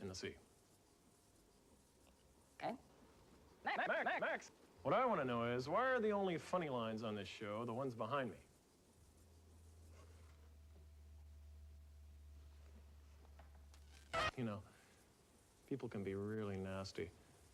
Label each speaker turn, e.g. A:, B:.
A: in the sea.
B: Okay.
A: Max, Max, Max. What I want to know is why are the only funny lines on this show the ones behind me? You know, people can be really nasty.